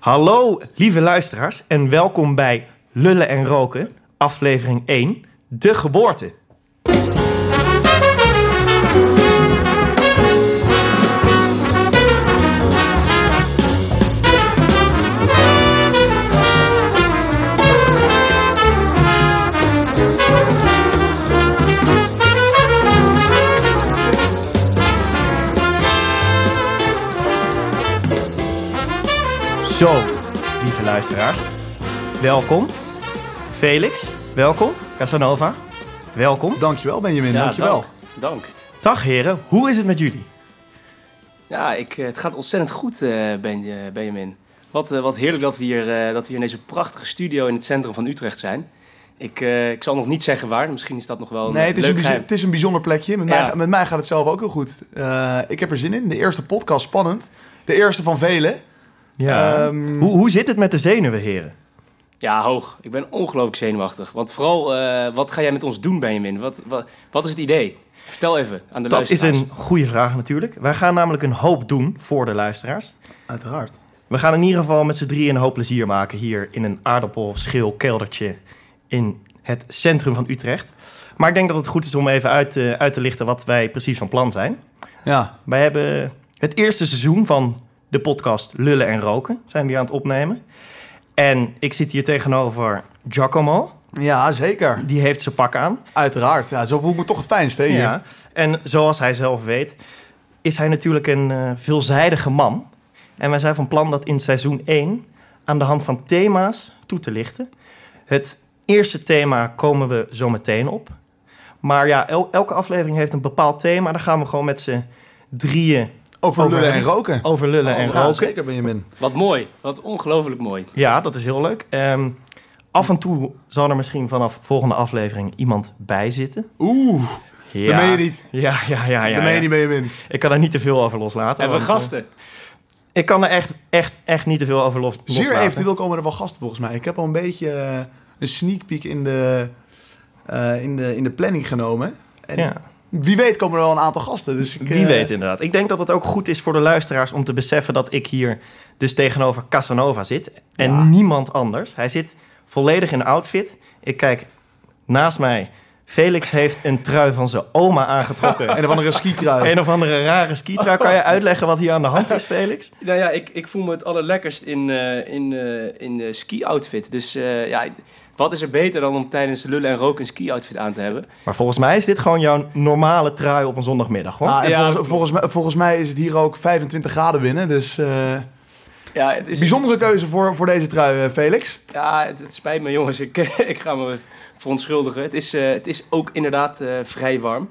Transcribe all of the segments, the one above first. Hallo, lieve luisteraars, en welkom bij Lullen en Roken, aflevering 1, De Geboorte. Zo, lieve luisteraars, welkom. Felix, welkom. Casanova, welkom. Dankjewel Benjamin, dankjewel. Dank. dank. Dag heren, hoe is het met jullie? Ja, ik, eh, het gaat ontzettend goed, eh, Ben- eh, Benjamin. Wat, eh, wat heerlijk dat we, hier, eh, dat we hier in deze prachtige studio in het centrum van Utrecht zijn. Ik, eh, ik zal nog niet zeggen waar, misschien is dat nog wel een Nee, eh, het is, een, leuk bijz- geheim. het is een bijzonder plekje. Met, Ja. mij, met mij gaat het zelf ook heel goed. Eh, ik heb er zin in. De eerste podcast, spannend. De eerste van velen. Ehm, hoe, hoe zit het met de zenuwen, heren? Ja, hoog. Ik ben ongelooflijk zenuwachtig. Want vooral, eh, wat ga jij met ons doen, Benjamin? Wat, wat, wat is het idee? Vertel even aan de Dat is luisteraars. een goede vraag natuurlijk. Wij gaan namelijk een hoop doen voor de luisteraars. Uiteraard. We gaan in ieder geval met z'n drieën een hoop plezier maken hier in een aardappelschil keldertje in het centrum van Utrecht. Maar ik denk dat het goed is om even uit, te- uit te lichten wat wij precies van plan zijn. Ja, Wij hebben het eerste seizoen van de podcast Lullen en Roken zijn we hier aan het opnemen. En ik zit hier tegenover Giacomo. ja zeker. Die heeft zijn pak aan. Uiteraard. Ja, zo voel ik me toch het fijnst hè, hier. Ja. En zoals hij zelf weet, is hij natuurlijk een eh, veelzijdige man. En wij zijn van plan dat in seizoen 1 aan de hand van thema's toe te lichten. Het eerste thema komen we zo meteen op. Maar ja, el- elke aflevering heeft een bepaald thema. Daar gaan we gewoon met z'n drieën Over Over lullen en hem. roken. over lullen Oh, en Ja, roken. zeker Benjamin. Wat mooi. Wat ongelooflijk mooi. Ja, dat is heel leuk. Ehm, af en toe zal er misschien vanaf volgende aflevering iemand bij zitten. Oeh, Ja. dat meen je niet. Ja, ja, ja. ja, dat meen je ja. niet Benjamin. Ik kan er niet te veel over loslaten. Hebben we want, eh, gasten? Ik kan er echt, echt, echt niet te veel over los, loslaten. Zeer eventueel komen er wel gasten volgens mij. Ik heb al een beetje eh, een sneak peek in de, eh, in de, in de planning genomen. En Ja, Wie weet komen er wel een aantal gasten. Dus ik, wie eh, weet inderdaad. Ik denk dat het ook goed is voor de luisteraars om te beseffen dat ik hier dus tegenover Casanova zit. En Ja. niemand anders. Hij zit volledig in outfit. Ik kijk naast mij. Felix heeft een trui van zijn oma aangetrokken. Een of andere skietrui. Een of andere rare skitra. Kan Oh. je uitleggen wat hier aan de hand is, Felix? Nou ja, ik, ik voel me het allerlekkerst in, eh, in, eh, in de ski-outfit. Dus eh, ja, wat is er beter dan om tijdens lullen en roken een ski-outfit aan te hebben? Maar volgens mij is dit gewoon jouw normale trui op een zondagmiddag, hoor. Ah, en Ja, volgens, klopt. volgens, mij, volgens mij is het hier ook 25 graden binnen. Dus eh, Ja, het is... bijzondere keuze voor, voor deze trui, eh, Felix. Ja, het, het spijt me jongens. Ik, ik ga me verontschuldigen. Het is, eh, het is ook inderdaad eh, vrij warm.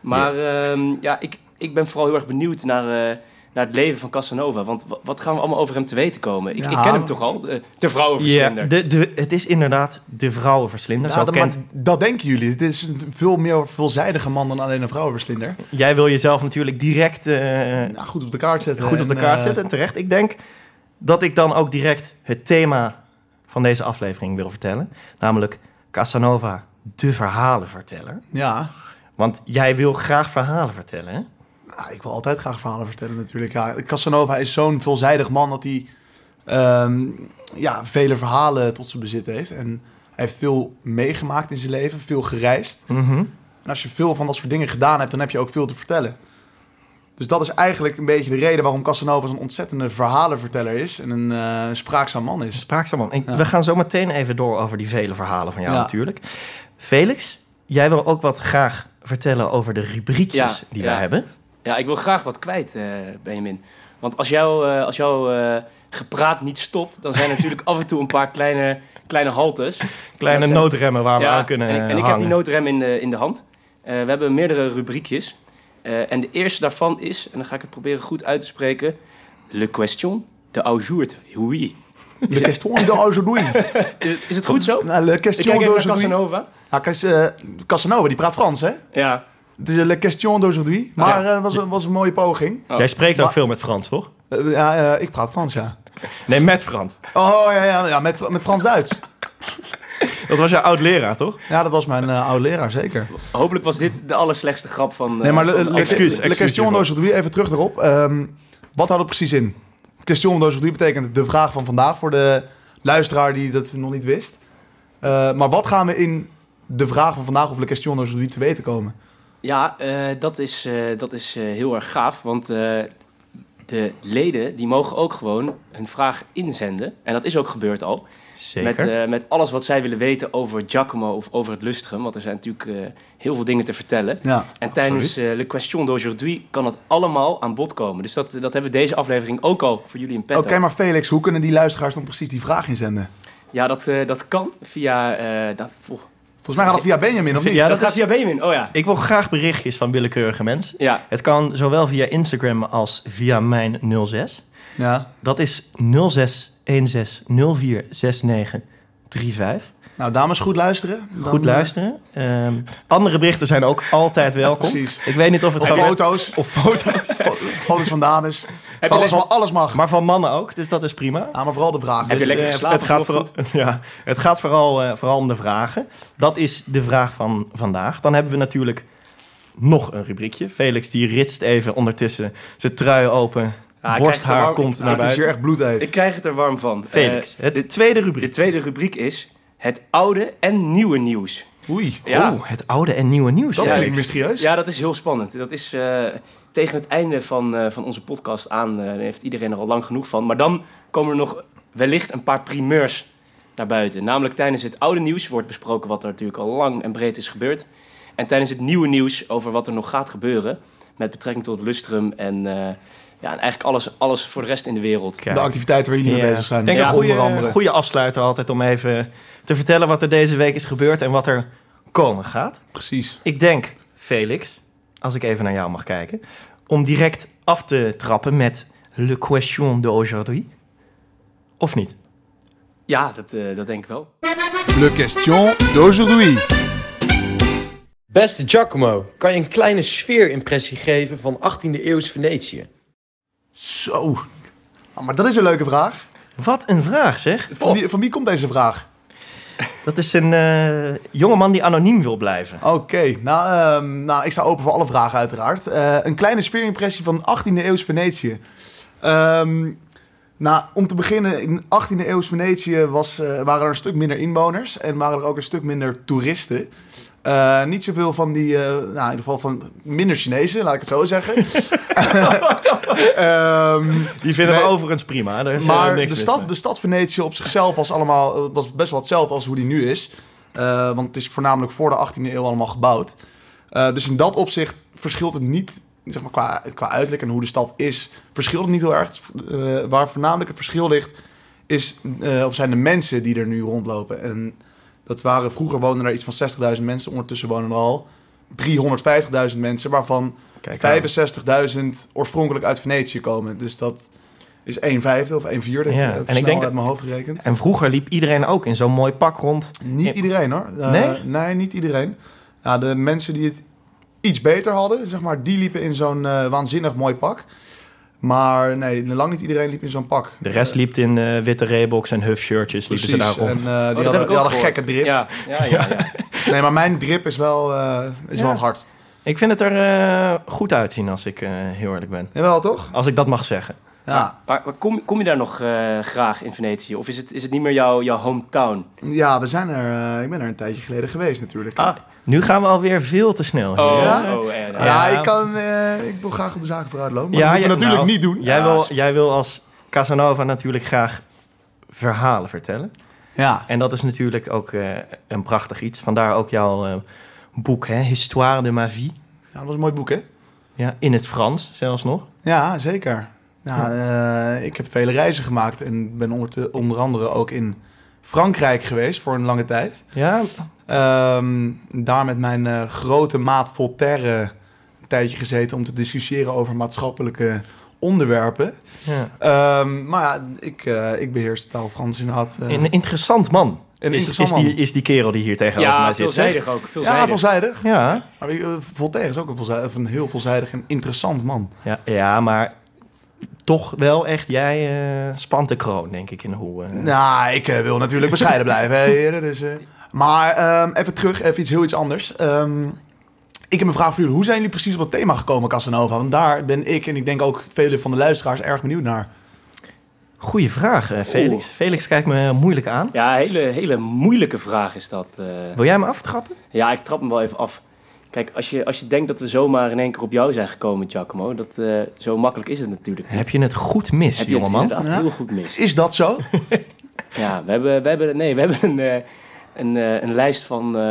Maar ehm, ja, ik, ik ben vooral heel erg benieuwd naar, eh, naar het leven van Casanova. Want wa- wat gaan we allemaal over hem te weten komen? Ik, Ja. ik ken hem toch al, eh, de vrouwenverslinder. de, de, het is inderdaad de vrouwenverslinder. Ja, Zo dat, Nou, maar kent, dat denken jullie. Het is een veel meer veelzijdige man dan alleen een vrouwenverslinder. jij wil jezelf natuurlijk direct eh, Nou, goed op de kaart zetten. goed op de En, kaart eh, zetten. En terecht, ik denk dat ik dan ook direct het thema van deze aflevering wil vertellen. Namelijk Casanova, de verhalenverteller. ja, Want jij wil graag verhalen vertellen, hè? Nou, ik wil altijd graag verhalen vertellen natuurlijk. Ja, Casanova is zo'n veelzijdig man dat hij ehm, ja, vele verhalen tot zijn bezit heeft. En hij heeft veel meegemaakt in zijn leven, veel gereisd. Mhm. En als je veel van dat soort dingen gedaan hebt, dan heb je ook veel te vertellen. Dus dat is eigenlijk een beetje de reden waarom Casanova zo'n ontzettende verhalenverteller is en een eh, spraakzaam man is. Spraakzaam man. Ik- Ja. We gaan zo meteen even door over die vele verhalen van jou Ja. natuurlijk. Felix, jij wil ook wat graag vertellen over de rubriekjes Ja, die ja. wij hebben. Ja, ik wil graag wat kwijt, eh, Benjamin. Want als jouw eh, als jouw eh, gepraat niet stopt, dan zijn er natuurlijk af en toe een paar kleine, kleine haltes. Kleine Dat zijn- noodremmen waar we Ja, aan kunnen en ik, en ik hangen. heb die noodrem in de, in de hand. Eh, we hebben meerdere rubriekjes. Eh, en de eerste daarvan is, en dan ga ik het proberen goed uit te spreken... Le question de aujourd, oui. Le question de aujourd'hui. Is het, is het goed zo? Nou, Le Ik kijk question even naar d'aujourd'hui. Casanova. Ja, Cas- eh, Casanova, die praat Frans, hè? Ja. Het is eh, Le question d'aujourd'hui. Maar eh, was, een- was een mooie poging. Jij spreekt ook Maar- veel met Frans, toch? Eh, ja, eh, ik praat Frans, ja. Nee, met Frans. Oh, ja, ja, ja met, met Frans-Duits. Dat was jouw oud-leraar, toch? Ja, dat was mijn oude leraar, zeker. Hopelijk was dit de allerslechtste grap van... eh, Nee, maar van le, de le, aflevering. excuus, le excuus question hiervoor. d'aujourd'hui, even terug erop. Ehm, wat houdt het precies in? Question om doos op drie betekent de vraag van vandaag voor de luisteraar die dat nog niet wist. Eh, maar wat gaan we in de vraag van vandaag of de question doos op drie te weten komen? Ja, eh, dat is, eh, dat is eh, heel erg gaaf, want eh, de leden die mogen ook gewoon hun vraag inzenden. En dat is ook gebeurd al. Zeker. Met, eh, met alles wat zij willen weten over Giacomo of over het lustrum. Want er zijn natuurlijk eh, heel veel dingen te vertellen. Ja, En tijdens eh Le Question d'aujourd'hui kan dat allemaal aan bod komen. Dus dat, dat hebben we deze aflevering ook al voor jullie in Oké, petto. maar Felix, hoe kunnen die luisteraars dan precies die vraag inzenden? Ja, dat, eh, dat kan via... eh, dat, oh, Volgens mij gaat dat via Benjamin, of niet? Ja, dat, dat gaat is- via Benjamin. Oh ja. Ik wil graag berichtjes van willekeurige mensen. Ja, Het kan zowel via Instagram als via mijn 06. Ja. Dat is 0616046935. Nou, dames, goed luisteren. Dan, Goed luisteren. Ehm, andere berichten zijn ook altijd eh, welkom. Precies. Ik weet niet of het Of gaat- foto's. of foto's. Fo- Foto's van dames. je Alles, lekker- mag- alles mag. Maar van mannen ook, dus dat is prima. Ja, maar vooral de vraag. Heb je Dus, lekker eh, geslapen het, gaat vooral, ja, het gaat vooral, eh, vooral om de vragen. Dat is de vraag van vandaag. Dan hebben we natuurlijk nog een rubriekje. Felix die ritst even ondertussen zijn trui open. hij krijgt er borsthaar warm- komt nou, naar het is hier buiten. echt bloed uit. ik krijg het er warm van. Felix, Eh, het de, tweede de rubriek. tweede rubriek is het oude en nieuwe nieuws. Oei, Ja. Oh, het oude en nieuwe nieuws. dat Ja, klinkt Felix. mysterieus. Ja, dat is heel spannend. Dat is eh, tegen het einde van, eh, van onze podcast aan. eh, daar heeft iedereen er al lang genoeg van. Maar dan komen er nog wellicht een paar primeurs naar buiten. Namelijk tijdens het oude nieuws wordt besproken wat er natuurlijk al lang en breed is gebeurd. En tijdens het nieuwe nieuws over wat er nog gaat gebeuren. Met betrekking tot Lustrum en, eh, ja, en eigenlijk alles, alles voor de rest in de wereld. Kijk. De activiteiten waar jullie Ja. mee bezig zijn. Ik denk Ja, een onder goede, andere. goede afsluiter altijd om even te vertellen wat er deze week is gebeurd en wat er komen gaat. Precies. Ik denk, Felix, als ik even naar jou mag kijken, om direct af te trappen met Le Question d'aujourd'hui. Of niet? Ja, dat, eh, dat denk ik wel. Le question d'aujourd'hui. Beste Giacomo, kan je een kleine sfeerimpressie geven van 18e eeuws Venetië? Zo. Ah, maar dat is een leuke vraag. Wat een vraag, zeg. Van, wie, van wie komt deze vraag? Dat is een eh, jongeman die anoniem wil blijven. Oké, nou, ehm, nou, ik sta open voor alle vragen uiteraard. Eh, een kleine sfeerimpressie van 18e eeuws Venetië. Ehm, nou, om te beginnen, in 18e eeuws Venetië was, eh, waren er een stuk minder inwoners en waren er ook een stuk minder toeristen. Eh, niet zoveel van die, eh, nou in ieder geval van minder Chinezen, laat ik het zo zeggen. Ehm, Die vinden we Nee. overigens prima. Daar is eh, maar niks de, mis stad, mee. de stad Venetië op zichzelf was, allemaal, eh, was best wel hetzelfde als hoe die nu is. Eh, want het is voornamelijk voor de 18e eeuw allemaal gebouwd. Eh, dus in dat opzicht verschilt het niet, zeg maar, qua, qua uiterlijk en hoe de stad is, verschilt het niet heel erg. Eh, waar voornamelijk het verschil ligt, is, eh, of zijn de mensen die er nu rondlopen. En dat waren, vroeger woonden er iets van 60.000 mensen, ondertussen wonen er al 350.000 mensen, waarvan Kijk, nou. 65.000 oorspronkelijk uit Venetië komen. Dus dat is 1 vijfde of 1 vierde. Ja, en en ik snel ik denk uit dat- mijn hoofd gerekend. En vroeger liep iedereen ook in zo'n mooi pak rond. Niet en- iedereen hoor. Eh, Nee? Nee, niet iedereen. Ja, de mensen die het iets beter hadden, zeg maar, die liepen in zo'n eh, waanzinnig mooi pak. Maar nee, lang niet iedereen liep in zo'n pak. De rest liep in eh, witte Reeboks en huffshirtjes. Liepen ze daar Precies. rond. En, eh, die Oh, dat hadden, heb ik die ook hadden gehoord. gekke drip. Ja, ja, ja. ja. Nee, maar mijn drip is wel, eh, is Ja. wel hard. Ik vind het er eh, goed uitzien als ik eh, heel eerlijk ben. Jawel, toch? Als ik dat mag zeggen. Ja. Maar, maar kom, kom je daar nog eh, graag in Venetië? Of is het, is het niet meer jouw, jouw hometown? Ja, we zijn er, eh, ik ben er een tijdje geleden geweest natuurlijk. Ah. Nu gaan we alweer veel te snel. Oh, Ja? oh, eh, Ja, ja. Ja. ik, kan, eh, ik wil graag op de zaken vooruit lopen. Maar Ja, dat moeten we ja, natuurlijk nou, niet doen. Jij, ja, wil, s- jij wil als Casanova natuurlijk graag verhalen vertellen. Ja. En dat is natuurlijk ook eh, een prachtig iets. Vandaar ook jouw eh, boek, hè? Histoire de ma vie. Ja, dat was een mooi boek, hè? Ja, in het Frans zelfs nog. Ja, zeker. Ja, eh, ik heb vele reizen gemaakt en ben onder, onder andere ook in Frankrijk geweest voor een lange tijd. Ja, Ehm, daar met mijn eh, grote maat Voltaire een tijdje gezeten om te discussiëren over maatschappelijke onderwerpen. ja. Ehm, maar ja, ik, eh, ik beheers de taal Frans inderdaad. eh, een interessant man. Een is, interessant is, man. Die, is die kerel die hier tegenover Ja, mij zit. zeg. veelzijdig ook. ja, Veelzijdig. veelzijdig. Ja. Maar eh, Voltaire is ook een, veelzijdig, of een heel veelzijdig en interessant man. Ja, ja, maar toch wel echt, jij eh, spant de kroon, denk ik, in hoe... eh, Nou, ik eh, wil natuurlijk bescheiden blijven, hè, heren. Dus, eh. Maar ehm, even terug, even iets heel iets anders. Ehm, ik heb een vraag voor jullie. Hoe zijn jullie precies op het thema gekomen, Casanova? Want daar ben ik en ik denk ook velen van de luisteraars erg benieuwd naar. Goeie vraag, eh, Felix. Felix kijkt me moeilijk aan. Ja, een hele, hele moeilijke vraag is dat. eh. Wil jij me aftrappen? Ja, ik trap hem wel even af. Kijk, als je, als je denkt dat we zomaar in één keer op jou zijn gekomen, Giacomo, dat, eh, zo makkelijk is het natuurlijk. niet. Heb je het goed mis, Heb je het jongeman? inderdaad Ja. heel goed mis. Is dat zo? Ja, we hebben, we hebben, nee, we hebben een, eh, een, eh, een lijst van eh,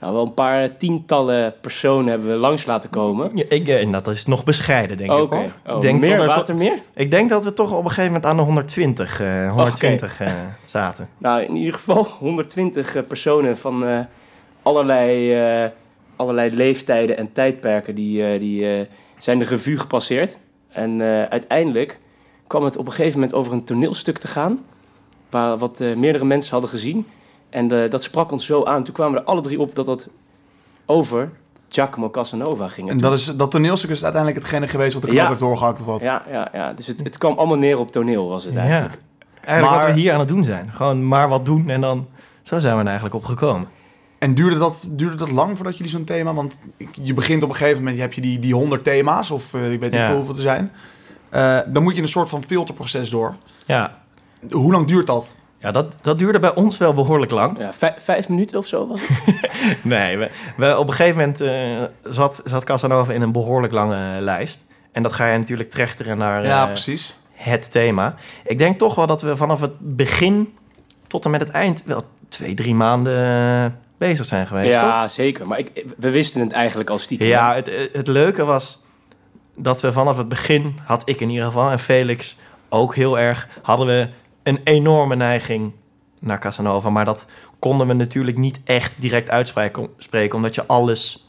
nou, wel een paar tientallen personen hebben we langs laten komen. Ja, ik, eh, en dat is nog bescheiden, denk ik. hoor. Oh, ik, denk meer, toch dat- Waren er meer? ik denk dat we toch op een gegeven moment aan de 120, eh, 120 eh, zaten. Nou, in ieder geval 120 eh, personen van eh, allerlei, eh, allerlei leeftijden en tijdperken die, eh, die eh, zijn de revue gepasseerd. En eh, uiteindelijk kwam het op een gegeven moment over een toneelstuk te gaan, waar, wat eh, meerdere mensen hadden gezien. En eh, dat sprak ons zo aan. Toen kwamen er alle drie op dat dat over Giacomo Casanova ging. En dat, is, dat toneelstuk is uiteindelijk hetgene geweest wat de club Ja. heeft doorgehakt of wat? Ja, ja, ja. Dus het, het kwam allemaal neer op toneel, was het Ja. eigenlijk. Eigenlijk wat we Maar- hier aan het doen zijn. Gewoon maar wat doen en dan... Zo zijn we er eigenlijk op gekomen. En duurde dat, duurde dat lang voordat jullie zo'n thema... Want ik- je begint op een gegeven moment, heb je die, die 100 thema's... of eh, ik weet niet Ja. veel hoeveel er zijn. Eh, dan moet je een soort van filterproces door. Ja, Hoe lang duurt dat? ja dat, dat duurde bij ons wel behoorlijk lang. Ja. vij- vijf minuten of zo was het. Nee, we, we- op een gegeven moment eh, zat, zat Casanova in een behoorlijk lange lijst. En dat ga je natuurlijk trechteren naar ja, eh, precies. het thema. Ik denk toch wel dat we vanaf het begin tot en met het eind wel twee, drie maanden eh, bezig zijn geweest. toch? Ja, zeker. Maar ik, we wisten het eigenlijk al stiekem. ja het, eh, het leuke was dat we vanaf het begin, had ik in ieder geval en Felix ook heel erg, hadden we een enorme neiging naar Casanova. Maar dat konden we natuurlijk niet echt direct uitspreken, spreken, omdat je alles,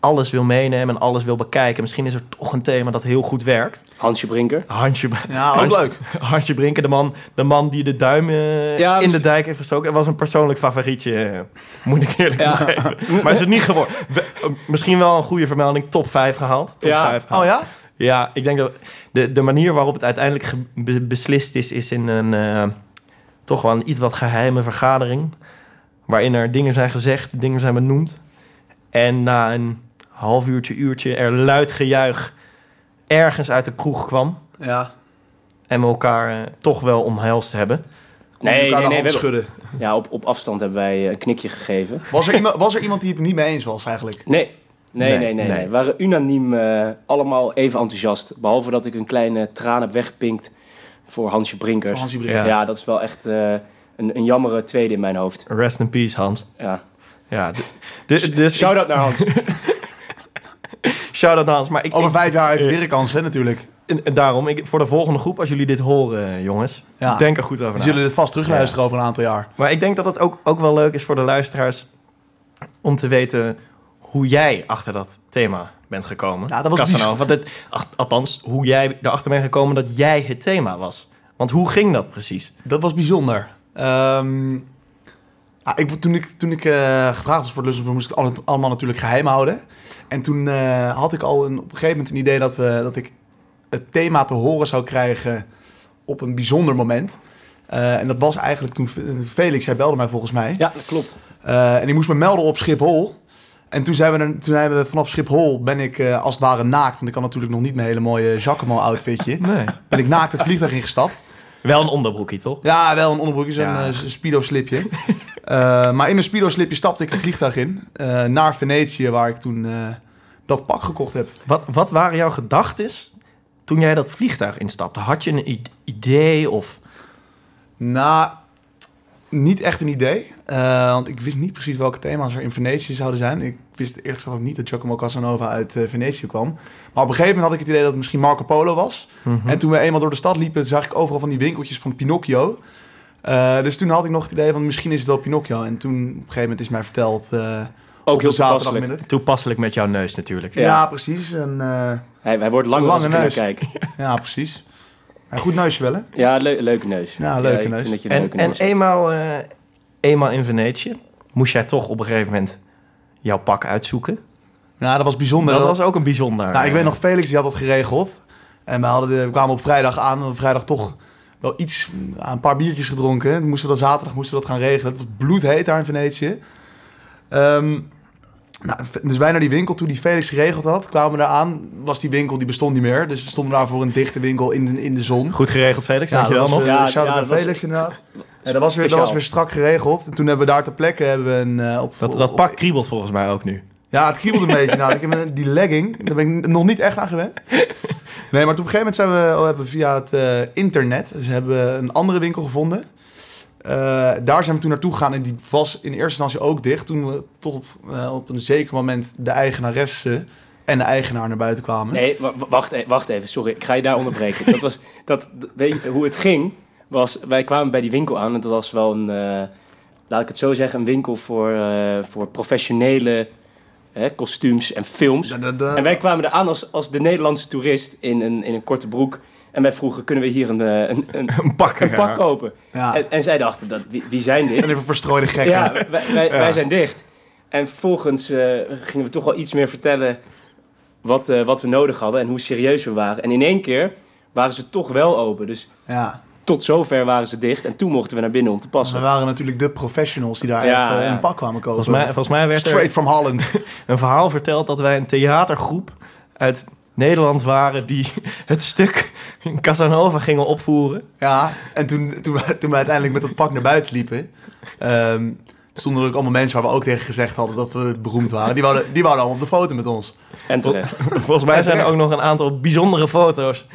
alles wil meenemen en alles wil bekijken. Misschien is er toch een thema dat heel goed werkt. Hansje Brinker. Hansje, Ja, ook Hans- leuk. Hansje Brinken, de man, de man die de duim eh, Ja, in de misschien- dijk heeft gestoken, was een persoonlijk favorietje, eh, moet ik eerlijk Ja. toegeven. Maar is het niet geworden. We- eh, misschien wel een goede vermelding, top 5 gehaald. Top Ja. vijf Oh gehaald. ja? Ja, ik denk dat de, de manier waarop het uiteindelijk ge- be- beslist is, is in een eh, toch wel een iets wat geheime vergadering. Waarin er dingen zijn gezegd, dingen zijn benoemd. En na een half uurtje, uurtje er luid gejuich ergens uit de kroeg kwam. Ja. En we elkaar eh, toch wel omhelst hebben. Nee, Elkaar de nee, nee. hand We hebben, schudden. ja, op, op afstand hebben wij eh, een knikje gegeven. Was er, iemand, was er iemand die het er niet mee eens was eigenlijk? Nee. Nee, Nee, nee, nee, nee, nee. We waren unaniem eh, allemaal even enthousiast. Behalve dat ik een kleine traan heb weggepinkt voor Hansje Van Brinkers. Hansie Brink. Ja. ja. dat is wel echt eh, een, een jammere tweede in mijn hoofd. Rest in peace, Hans. Ja. Ja, d- d- dus ik- Shout-out naar Hans. shout-out naar Hans. Maar ik, Over vijf jaar heeft Eh. het weer een kans, hè, natuurlijk. ik- en daarom, ik, voor de volgende groep, als jullie dit horen, eh, jongens, Ja. denk er goed over We na. zullen dit vast terugluisteren over een aantal jaar. Maar ik denk dat het ook, ook wel leuk is voor de luisteraars om te weten hoe jij achter dat thema bent gekomen. Ja, dat was Casanova. Want het, ach- althans, hoe jij erachter bent gekomen dat jij het thema was. Want hoe ging dat precies? Dat was bijzonder. Ehm, ah, ik, toen ik, toen ik eh, gevraagd was voor de lust, moest ik het alle- allemaal natuurlijk geheim houden. En toen eh, had ik al een, op een gegeven moment een idee dat, we, dat ik het thema te horen zou krijgen op een bijzonder moment. Eh, en dat was eigenlijk toen Felix, hij belde mij volgens mij. ja, dat klopt. Eh, en ik moest me melden op Schiphol. En toen zijn we, er- toen zijn we vanaf Schiphol, ben ik eh, als het ware naakt, want ik had natuurlijk nog niet mijn hele mooie Giacomo-outfitje, Nee. ben ik naakt het vliegtuig ingestapt. Wel een onderbroekje, toch? Ja, wel een onderbroekje, zo'n Ja. eh, s- speedo-slipje. Eh, maar in mijn speedo-slipje stapte ik het vliegtuig in. eh, naar Venetië, waar ik toen eh, dat pak gekocht heb. Wat, wat waren jouw gedachten toen jij dat vliegtuig instapte? Had je een i- idee of... Nou, niet echt een idee. eh, want ik wist niet precies welke thema's er in Venetië zouden zijn. Ik wist eerlijk gezegd ook niet dat Giacomo Casanova uit eh, Venetië kwam. Maar op een gegeven moment had ik het idee dat het misschien Marco Polo was. Mhm. En toen we eenmaal door de stad liepen, zag ik overal van die winkeltjes van Pinocchio. Eh, dus toen had ik nog het idee van misschien is het wel Pinocchio. En toen op een gegeven moment is mij verteld... eh, op Ook de heel toepasselijk. zaterdagmiddag. Toepasselijk met jouw neus natuurlijk. Ja. Ja, precies. En, eh, Hij, hij wordt langer Lange als ik naar neus. kijk. ja, precies. Een goed neusje wel, hè? Ja, leu- leuke neus. Ja, leuke ik neus. Vind dat je een En, leuke en neus hebt. eenmaal, eh, eenmaal in Venetië moest jij toch op een gegeven moment jouw pak uitzoeken. Ja, dat was bijzonder. dat, Dat- was ook een bijzonder. eh, Nou, ik weet nog, Felix die had dat geregeld. En we, hadden de- we kwamen op vrijdag aan. En op vrijdag toch wel iets, mm, een paar biertjes gedronken. Toen moesten we dat zaterdag moesten we dat gaan regelen. Het was bloedheet daar in Venetië. Ehm, Nou, dus wij naar die winkel toe die Felix geregeld had, kwamen we daar aan. Was die winkel, die bestond niet meer. Dus we stonden daar voor een dichte winkel in de, in de zon. Goed geregeld, Felix. Dankjewel dat was, nog. eh, Ja, shout-out ja, naar dat was- Felix inderdaad. Ja, dat, was weer, dat was weer strak geregeld. En toen hebben we daar ter plekke hebben we een... eh, op, Dat, op- dat op- pak kriebelt volgens mij ook nu. Ja, het kriebelt een beetje. Nou, ik heb een- die legging, daar ben ik nog niet echt aan gewend. Nee, maar op een gegeven moment zijn we, oh, hebben we via het eh, internet... Dus hebben we een andere winkel gevonden. Eh, daar zijn we toen naartoe gegaan en die was in eerste instantie ook dicht. Toen we tot op, eh, op een zeker moment de eigenaresse en de eigenaar naar buiten kwamen. Nee, wa- wa- wacht, e- wacht even, sorry, ik ga je daar onderbreken. dat was, dat, d- weet je, hoe het ging, was, wij kwamen bij die winkel aan en dat was wel een, eh, laat ik het zo zeggen, een winkel voor, eh, voor professionele hè, kostuums en films. Da- da- da- En wij kwamen eraan als, als de Nederlandse toerist in een, in een korte broek. En wij vroegen, kunnen we hier een, eh, een, een, Een pak. een ja. pak kopen? ja, En, en zij dachten, dat, wie, wie zijn dit? zijn even verstrooide gekken. Ja, wij, wij, Ja. wij zijn dicht. En vervolgens eh, gingen we toch wel iets meer vertellen wat, eh, wat we nodig hadden en hoe serieus we waren. En in één keer waren ze toch wel open. Dus ja. tot zover waren ze dicht. En toen mochten we naar binnen om te We passen. waren natuurlijk de professionals die daar Ja, even ja. een pak kwamen kopen. Volgens mij, volgens mij werd er Straight from Holland. een verhaal verteld dat wij een theatergroep uit Nederland waren die het stuk in Casanova gingen opvoeren. ja, en toen, toen, we, toen we uiteindelijk met dat pak naar buiten liepen... ehm, stonden er ook allemaal mensen waar we ook tegen gezegd hadden dat we beroemd waren. Die wouden, die wouden allemaal op de foto met ons. En terecht. Volgens mij zijn er ook nog een aantal bijzondere foto's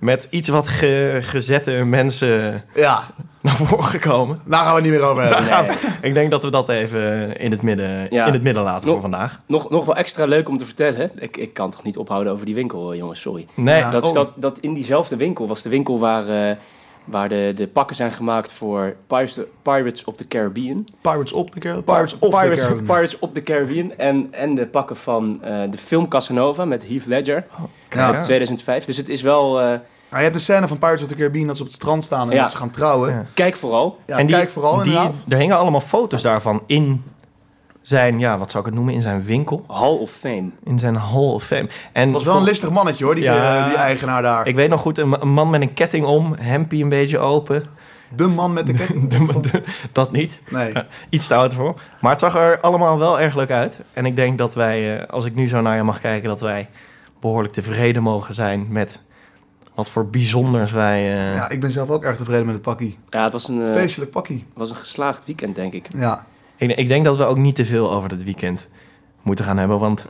met iets wat ge- gezette mensen Ja, naar voren gekomen. daar gaan we het niet meer over hebben. Nee. Ik denk dat we dat even in het midden, Ja. Oh. in het midden laten voor Nog- vandaag. Nog, nog wel extra leuk om te vertellen. Ik, ik kan toch niet ophouden over die winkel, eh, jongens, sorry. Nee, Ja. Dat, is oh. dat, dat in diezelfde winkel was de winkel waar, eh, waar de, de pakken zijn gemaakt voor Pirates, Pirates of the Caribbean. Pirates op de Caribbean. Pirates, Pirates op Pirates, de Caribbean. Pirates of the Caribbean en, en de pakken van eh, de film Casanova met Heath Ledger Ja. uit 2005. Dus het is wel, eh, Maar je hebt de scène van Pirates of the Caribbean dat ze op het strand staan en Ja. dat ze gaan trouwen. Ja. Ja, kijk vooral. En die- kijk vooral die, inderdaad. er hingen allemaal foto's daarvan in zijn, ja, wat zou ik het noemen, in zijn winkel. Hall of Fame. In zijn Hall of Fame. En Het was wel een vol- listig mannetje hoor, die, Ja. eh, die eigenaar daar. Ik weet nog goed, een, ma- een man met een ketting om, hempie een beetje open. De man met de ketting. De- de- dat niet, Nee. iets te oud voor. Maar het zag er allemaal wel erg leuk uit. En ik denk dat wij, eh, als ik nu zo naar je mag kijken, dat wij behoorlijk tevreden mogen zijn met wat voor bijzonders wij... eh, Ja, ik ben zelf ook erg tevreden met het pakkie. Ja, het was een, eh, Feestelijk pakkie. was een geslaagd weekend, denk ik. Ja. ik, ik denk dat we ook niet te veel over dit weekend moeten gaan hebben, want...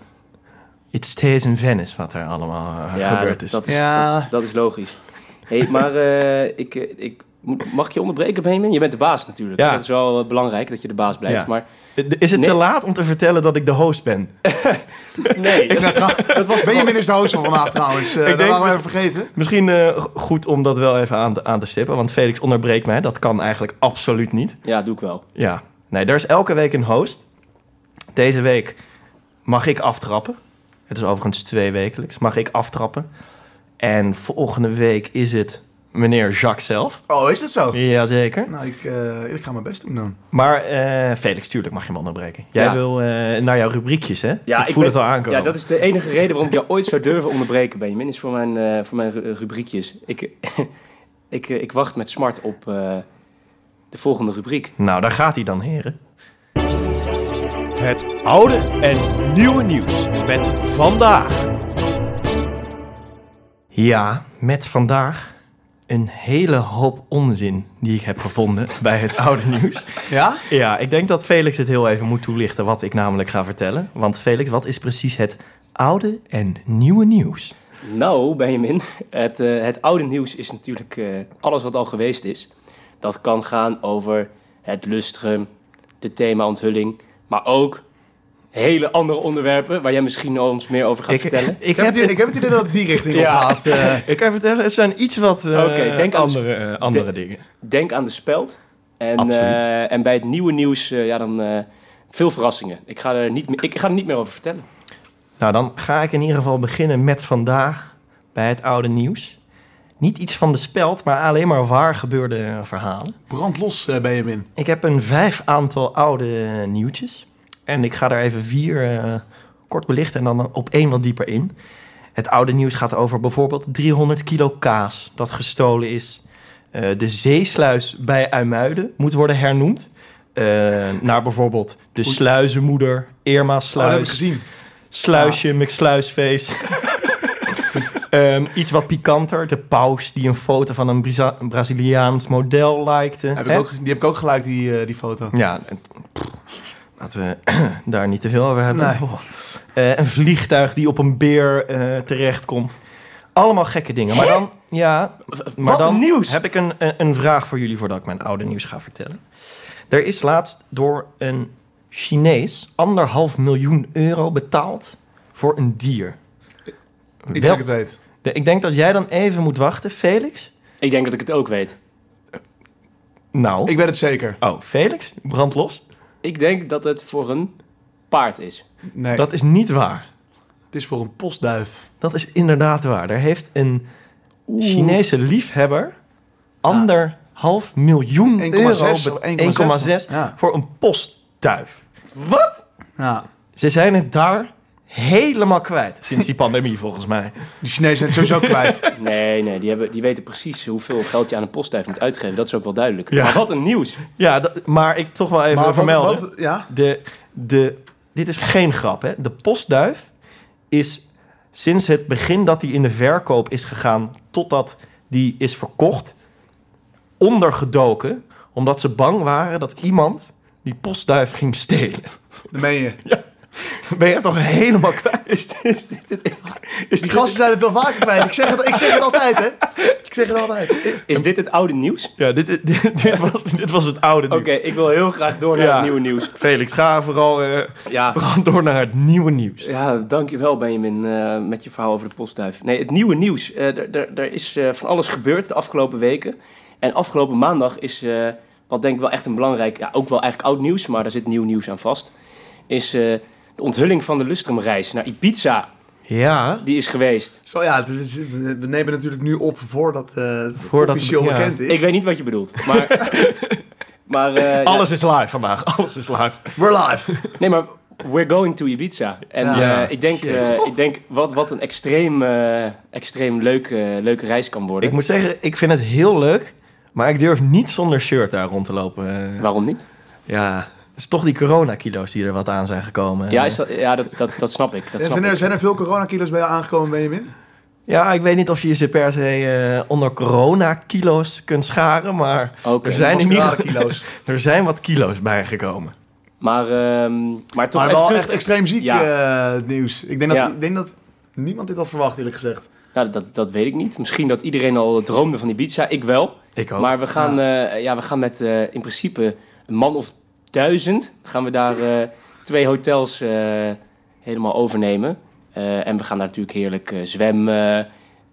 It stays in Venice, wat er allemaal eh, ja, gebeurd dat, is. Dat is, Ja. dat, dat is logisch. Hey, maar eh, ik, eh, ik, mag ik je onderbreken, Benjamin? Je bent de baas natuurlijk. Ja. Dat is wel eh, belangrijk dat je de baas blijft. Ja. Maar Eh, Is het te Nee. laat om te vertellen dat ik de host ben? nee, dat- dat was Benjamin is de host van vanavond trouwens. Eh, Ik dat denk waren we dus- even vergeten. Misschien eh, g- goed om dat wel even aan te, aan te stippen, want Felix onderbreekt mij. Dat kan eigenlijk absoluut niet. ja, doe ik wel. Ja, nee, er is elke week een host. Deze week mag ik aftrappen. Het is overigens twee wekelijks. Mag ik aftrappen. En volgende week is het meneer Jacques zelf. Oh, is dat zo? Jazeker. Nou, ik, eh, ik ga mijn best doen dan. Maar eh, Felix, tuurlijk mag je hem onderbreken. Jij Ja. wil eh, naar jouw rubriekjes, hè? Ja, ik ik voel ben- het al aankomen. Ja, dat is de enige reden waarom ik jou ooit zou durven onderbreken, Benjamin. Is voor mijn, eh, voor mijn ru- rubriekjes. Ik, ik, eh, ik wacht met smart op eh, de volgende rubriek. Nou, daar gaat hij dan, heren. Het oude en nieuwe nieuws met vandaag. Ja, met vandaag een hele hoop onzin die ik heb gevonden bij het oude nieuws. Ja? Ja, ik denk dat Felix het heel even moet toelichten wat ik namelijk ga vertellen. Want Felix, wat is precies het oude en nieuwe nieuws? Nou, Benjamin, het, eh, het oude nieuws is natuurlijk eh, alles wat al geweest is. Dat kan gaan over het lustrum, de thema-onthulling, maar ook hele andere onderwerpen waar jij misschien ons meer over gaat Ik, vertellen. ik, Ik heb, heb, het- ik heb het idee dat het die richting Ja. op gaat. eh. ik kan vertellen, het zijn iets wat eh, Oké, denk aan- andere, eh, andere dingen. Denk aan de speld. En, Absoluut. eh, en bij het nieuwe nieuws, eh, ja, dan eh, veel verrassingen. Ik ga, er niet, me- ik ga er niet meer over vertellen. Nou, dan ga ik in ieder geval beginnen met vandaag bij het oude nieuws. Niet iets van de speld, maar alleen maar waar gebeurde eh, verhalen. Brand los, eh, Benjamin. Ik heb een vijf aantal oude eh, nieuwtjes. En ik ga daar even vier eh, kort belichten en dan op één wat dieper in. Het oude nieuws gaat over bijvoorbeeld 300 kilo kaas dat gestolen is. Eh, de zeesluis bij IJmuiden moet worden hernoemd. eh, naar bijvoorbeeld de sluizenmoeder Irma Oh, dat heb ik Sluis, gezien. Sluisje, McSluisfeest. Ehm, iets wat pikanter, de paus die een foto van een Briza- Braziliaans model likte. Heb ik Hè? ook, die heb ik ook gelijk, die, eh, die foto. Ja, en- pff, laten we daar niet te veel over hebben. Nee. Oh. Eh, een vliegtuig die op een beer eh, terechtkomt. Allemaal gekke dingen. Maar dan, ja, maar Wat dan een nieuws! heb ik een, een, een vraag voor jullie voordat ik mijn oude nieuws ga vertellen. Er is laatst door een Chinees anderhalf miljoen euro betaald voor een dier. Ik Wel- denk het weet. de- ik denk dat jij dan even moet wachten, Felix. Ik denk dat ik het ook weet. Nou, Ik weet het zeker. oh, Felix, brand los. Ik denk dat het voor een paard is. Nee, Dat is niet waar. het is voor een postduif. Dat is inderdaad waar. Er heeft een Chinese liefhebber anderhalf miljoen 1,6 euro of be- 1,6. 1,6 Ja. voor een postduif. Wat? Ja. Ze zijn het daar helemaal kwijt. Sinds die pandemie volgens mij. Die Chinezen zijn het sowieso kwijt. Nee, nee, die, hebben, die weten precies hoeveel geld je aan een postduif moet uitgeven. Dat is ook wel duidelijk. Ja. Maar wat een nieuws. Ja, dat- maar ik toch wel even wat- vermelden. wat- ja? De, de, dit is geen grap, hè. De postduif is sinds het begin dat die in de verkoop is gegaan... totdat die is verkocht, ondergedoken... omdat ze bang waren dat iemand die postduif ging stelen. Dat meen je. Ben je toch helemaal kwijt? Is, is dit het, Die is, dit, gasten zijn het wel vaker kwijt. Ik zeg het, ik zeg het altijd, hè. Ik zeg het altijd. is dit het oude nieuws? Ja, dit, is- dit, dit was, dit was het oude Oké, nieuws. ik wil heel graag door naar Ja. het nieuwe nieuws. Felix, ga vooral, eh, Ja, vooral door naar het nieuwe nieuws. Ja, dankjewel Benjamin eh, met je verhaal over de postduif. Nee, het nieuwe nieuws. Eh, d- d- Er is eh, van alles gebeurd de afgelopen weken. En afgelopen maandag is, eh, wat denk ik wel echt een belangrijk, ja, ook wel eigenlijk oud nieuws, maar daar zit nieuw nieuws aan vast. Is eh, de onthulling van de Lustrumreis naar Ibiza, Ja, die is geweest. Zo ja, het is- we we nemen natuurlijk nu op voordat eh, het Voordat het- officieel ja. bekend is. Ik weet niet wat je bedoelt, maar... maar eh, ja. alles is live vandaag. Alles is live. We're live. Nee, maar we're going to Ibiza. En Ja. eh, ik denk, eh, Jezus. ik denk wat, wat een extreem, eh, extreem leuke, leuke reis kan worden. Ik moet zeggen, ik vind het heel leuk, maar ik durf niet zonder shirt daar rond te lopen. eh. Waarom niet? ja, het is toch die coronakilo's die er wat aan zijn gekomen. Ja, is dat, ja dat, dat, dat snap ik. Dat snap zijn, er, ik. zijn er veel coronakilo's bij jou aangekomen, Benjamin? Ja, ik weet niet of je ze per se eh, onder coronakilo's kunt scharen, maar Oké. er zijn er, niet, kilo's. er zijn wat kilo's bijgekomen. Maar, ehm, maar toch Maar even wel terug. echt extreem ziek eh, nieuws. Ik denk, dat, Ja. ik denk dat niemand dit had verwacht, eerlijk gezegd. Nou, dat, dat weet ik niet. Misschien dat iedereen al droomde van die pizza. Ik wel. Ik ook. Maar we gaan, eh, ja, we gaan met eh, in principe een man of duizend... gaan we daar eh, twee hotels eh, helemaal overnemen. Eh, en we gaan daar natuurlijk heerlijk eh, zwemmen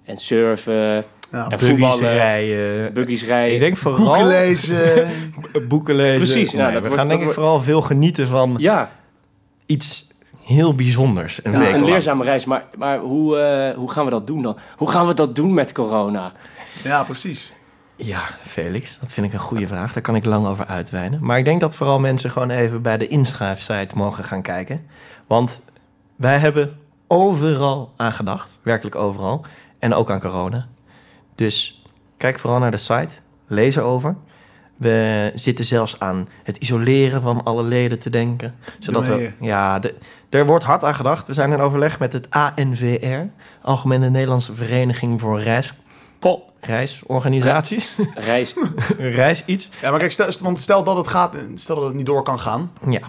en surfen, Ja, Ja, Buggies voetballen. rijden. buggies Ik rijden. denk vooral... boeken lezen. boeken lezen. Precies, ja, Nee, we dat wordt- gaan dat denk ik vooral veel genieten van Ja, iets heel bijzonders. Een Ja, week een lang. leerzame reis. Maar, maar hoe, eh, hoe gaan we dat doen dan? Hoe gaan we dat doen met corona? ja, precies. Ja, Felix, dat vind ik een goede vraag. Daar kan ik lang over uitweiden. Maar ik denk dat vooral mensen gewoon even bij de inschrijfsite mogen gaan kijken. Want wij hebben overal aan gedacht. Werkelijk overal. En ook aan corona. Dus kijk vooral naar de site. Lees erover. We zitten zelfs aan het isoleren van alle leden te denken. Zodat Doe we, ja, de, er wordt hard aan gedacht. We zijn in overleg met het ANVR, Algemene Nederlandse Vereniging voor Reis, po, Reisorganisaties. Reis. Reis iets. Ja, maar kijk, stel, want stel dat het gaat, stel dat het niet door kan gaan. Ja,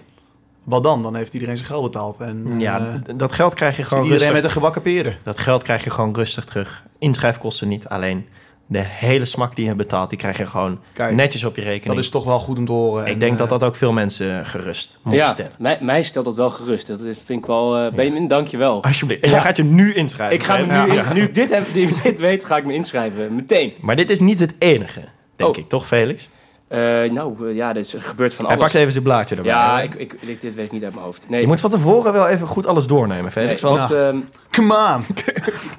Wat dan? Dan heeft iedereen zijn geld betaald. En ja eh, d- dat geld krijg je zit gewoon iedereen rustig. met een gebakken peren. Dat geld krijg je gewoon rustig terug. Inschrijfkosten niet alleen. De hele smak die je hebt betaald, die krijg je gewoon Kijk, netjes op je dat rekening. is eh, toch wel goed om te horen. Ik denk dat dat ook veel mensen eh, gerust moet Ja, stellen. mij, mij stelt dat wel gerust. Dat is- vind ik wel... eh Benjamin, dankjewel. Alsjeblieft. En jij gaat je nu inschrijven. Ik ga me hè? nu, Ah, Ja. nu ik dit, heb, nu ik dit weet, ga ik me inschrijven. Meteen. Maar dit is niet het enige, denk Oh. ik. Toch, Felix? Eh, nou, eh, ja, dit is- er gebeurt van Hij alles. pakt even zijn blaadje erbij. ja, hè? ik, ik, ik- dit weet ik niet uit mijn hoofd. Nee, Je moet van tevoren wel even goed alles doornemen, nee, Felix. want, wat, ehm, Come on!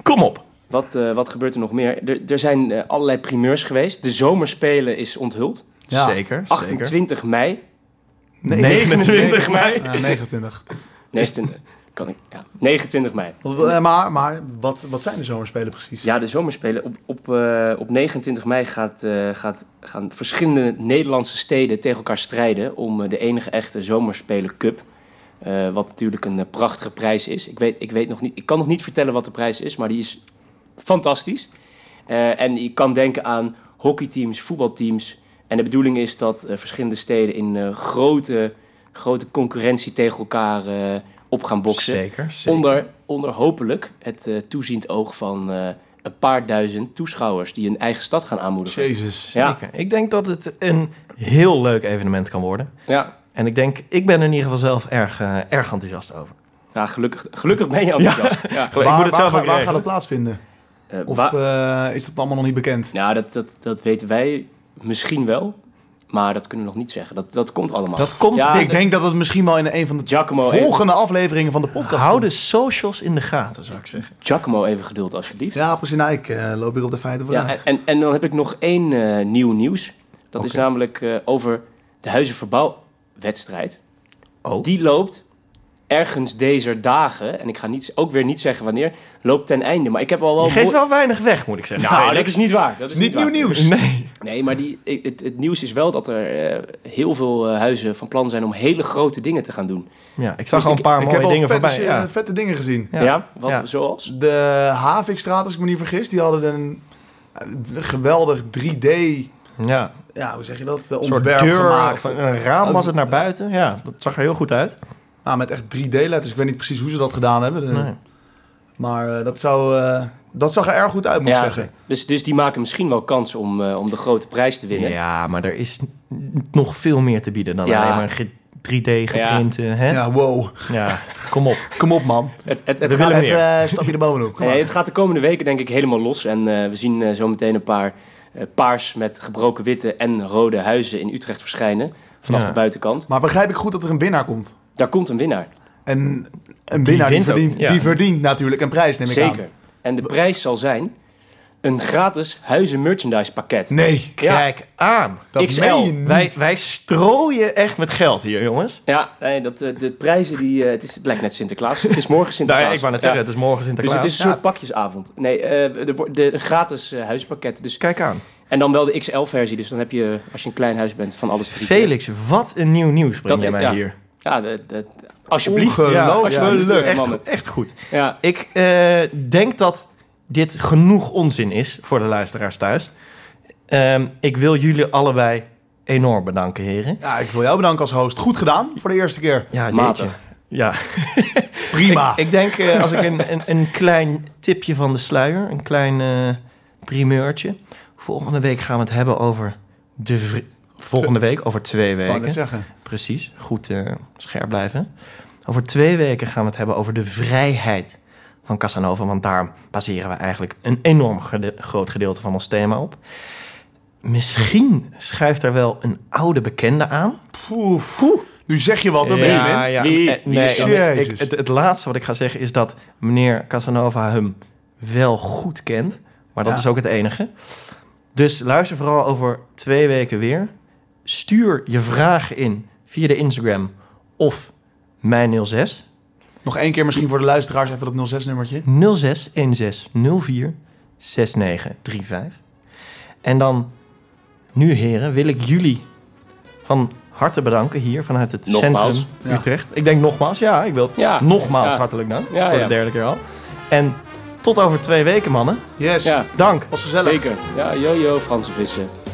kom op. wat, eh, wat gebeurt er nog meer? Er, er zijn eh, allerlei primeurs geweest. De zomerspelen is onthuld. Ja. Zeker, zeker. 28 mei. Nee, 29 mei. Ja, 29. Nee, het- kan ik, ja, 29 mei. Wat- eh, maar maar wat, wat zijn de zomerspelen precies? Ja, de zomerspelen. Op, op, eh, op 29 mei gaat, eh, gaat, gaan verschillende Nederlandse steden tegen elkaar strijden om eh, de enige echte zomerspelen cup. Eh, Eh, wat natuurlijk een eh, prachtige prijs is. Ik, weet, ik, weet nog niet, ik kan nog niet vertellen wat de prijs is, maar die is fantastisch. Eh, en je kan denken aan hockeyteams, voetbalteams. En de bedoeling is dat eh, verschillende steden in eh, grote, grote concurrentie tegen elkaar eh, op gaan boksen. Zeker, zeker. Onder, onder hopelijk het eh, toeziend oog van eh, een paar duizend toeschouwers die hun eigen stad gaan aanmoedigen. Jezus. Ja. Zeker. Ik denk dat het een heel leuk evenement kan worden. Ja, En ik denk, ik ben er in ieder geval zelf erg, eh, erg enthousiast over. nou, gelukkig, gelukkig ben je enthousiast. Ja. Ik moet het zelf waar, ook waar gaat regelen. het plaatsvinden? Eh, Of wa- eh, is dat allemaal nog niet bekend? Nou, dat, dat, dat weten wij misschien wel. Maar dat kunnen we nog niet zeggen. Dat, dat komt allemaal. Dat komt. Ja, ik denk dat het misschien wel in een van de Giacomo, even, volgende afleveringen van de podcast Hou komt. de socials in de gaten, zou ik zeggen. Giacomo, even geduld alsjeblieft. Ja, Ja, precies. Nou, ik eh, loop hier op de feiten vooruit. en, en, en dan heb ik nog één eh, nieuw nieuws. Dat is namelijk eh, over de huizenverbouwwedstrijd. Oh. Die loopt ergens deze dagen. En ik ga niet, ook weer niet zeggen wanneer. Loopt ten einde. Maar ik heb al wel... Je geeft mooi- wel weinig weg, moet ik zeggen. Nou, dat Felix. is niet waar. Dat is Niet waar. nieuw nieuws. Nee. Nee, maar die, het, het nieuws is wel dat er eh, heel veel eh, huizen van plan zijn om hele grote dingen te gaan doen. Ja, ik Dus zag al ik- een paar ik heb mooie al eh, dingen vette, voorbij. shit- Ja. vette dingen gezien. Ja, Ja. wat, Ja. zoals? De Havikstraat, als ik me niet vergis, die hadden een, een geweldig 3D, Ja. ja, hoe zeg je dat, eh, Een soort ontwerp deur gemaakt. of een- een raam was het naar buiten. Ja, dat zag er heel goed uit. Nou, met echt 3D-letters. Ik weet niet precies hoe ze dat gedaan hebben. De- Nee. Maar eh, dat, zou, eh, dat zag er erg goed uit, moet ik Ja, zeggen. Dus, dus die maken misschien wel kans om, eh, om de grote prijs te winnen. Ja, maar er is n- nog veel meer te bieden dan Ja. alleen maar een ge- 3D geprinte. eh, Hè? Ja. Ja, wow. kom op. Kom op, man. Het, het, het, We gaat, willen Even meer. eh, een stapje erboven ook. nee, het gaat de komende weken denk ik helemaal los. En eh, we zien eh, zo meteen een paar eh, paars met gebroken witte en rode huizen in Utrecht verschijnen. Vanaf Ja. de buitenkant. Maar begrijp ik goed dat er een winnaar komt? Daar komt een winnaar. En een winnaar die wint ook, verdient, ja. die verdient natuurlijk een prijs, neem ik aan. Zeker. En de prijs zal zijn een gratis huizen merchandise pakket. Nee, Kijk aan. dat XL. meen je niet. Wij, wij strooien echt met geld hier, jongens. Ja, nee, dat, eh, de prijzen die... eh, het, is, het lijkt net Sinterklaas. Het is morgen Nou, Sinterklaas. ja, ik wou net Ja. zeggen, het is morgen Dus Sinterklaas. het is een soort pakjesavond. Nee, eh, de, wo- de gratis eh, huispakket. Dus, Kijk aan. en dan wel de XL-versie. Dus dan heb je, als je een klein huis bent, van alles drie. keer. Felix, wat een nieuw nieuws breng Dat- jij mij ja. hier. Ja, dat, dat- alsjeblieft. Ongelooflijk. Ja, alsjeblieft. leuk. echt, Mannen. go- echt goed. Ja, Ik eh, denk dat dit genoeg onzin is voor de luisteraars thuis. Ehm, ik wil jullie allebei enorm bedanken, heren. Ja, ik wil jou bedanken als host. Goed gedaan voor de eerste keer. Ja, Matig. jeetje. Ja, Prima. Ik, ik denk, eh, als ik een, een, een klein tipje van de sluier, een klein eh, primeurtje. Volgende week gaan we het hebben over de... vri- Volgende week, over twee wou net weken. zeggen. Precies, goed eh, scherp blijven. Over twee weken gaan we het hebben over de vrijheid van Casanova. Want daar baseren we eigenlijk een enorm gede- groot gedeelte van ons thema op. Misschien schuift er wel een oude bekende aan. Nu zeg je wat, dan ben je hem in. ja. Wie? Eh, nee, Wie? ik- ik- Jezus. het, het laatste wat ik ga zeggen is dat meneer Casanova hem wel goed kent. Maar dat Ja. is ook het enige. Dus luister vooral over twee weken weer. Stuur je vragen in via de Instagram of mijn 06 Nog één keer misschien voor de luisteraars even dat 06-nummertje. 06 16 04 6935. En dan nu heren wil ik jullie van harte bedanken hier vanuit het Nogmaals. centrum Ja. Utrecht. Ik denk nogmaals, ja, ik wil het ja. Nogmaals Ja. hartelijk dank. Dat is Ja, voor ja. de derde keer al. En tot over twee weken, mannen. Yes, Ja, Dank. was gezellig. zeker. Ja, yo, yo, Franse vissen.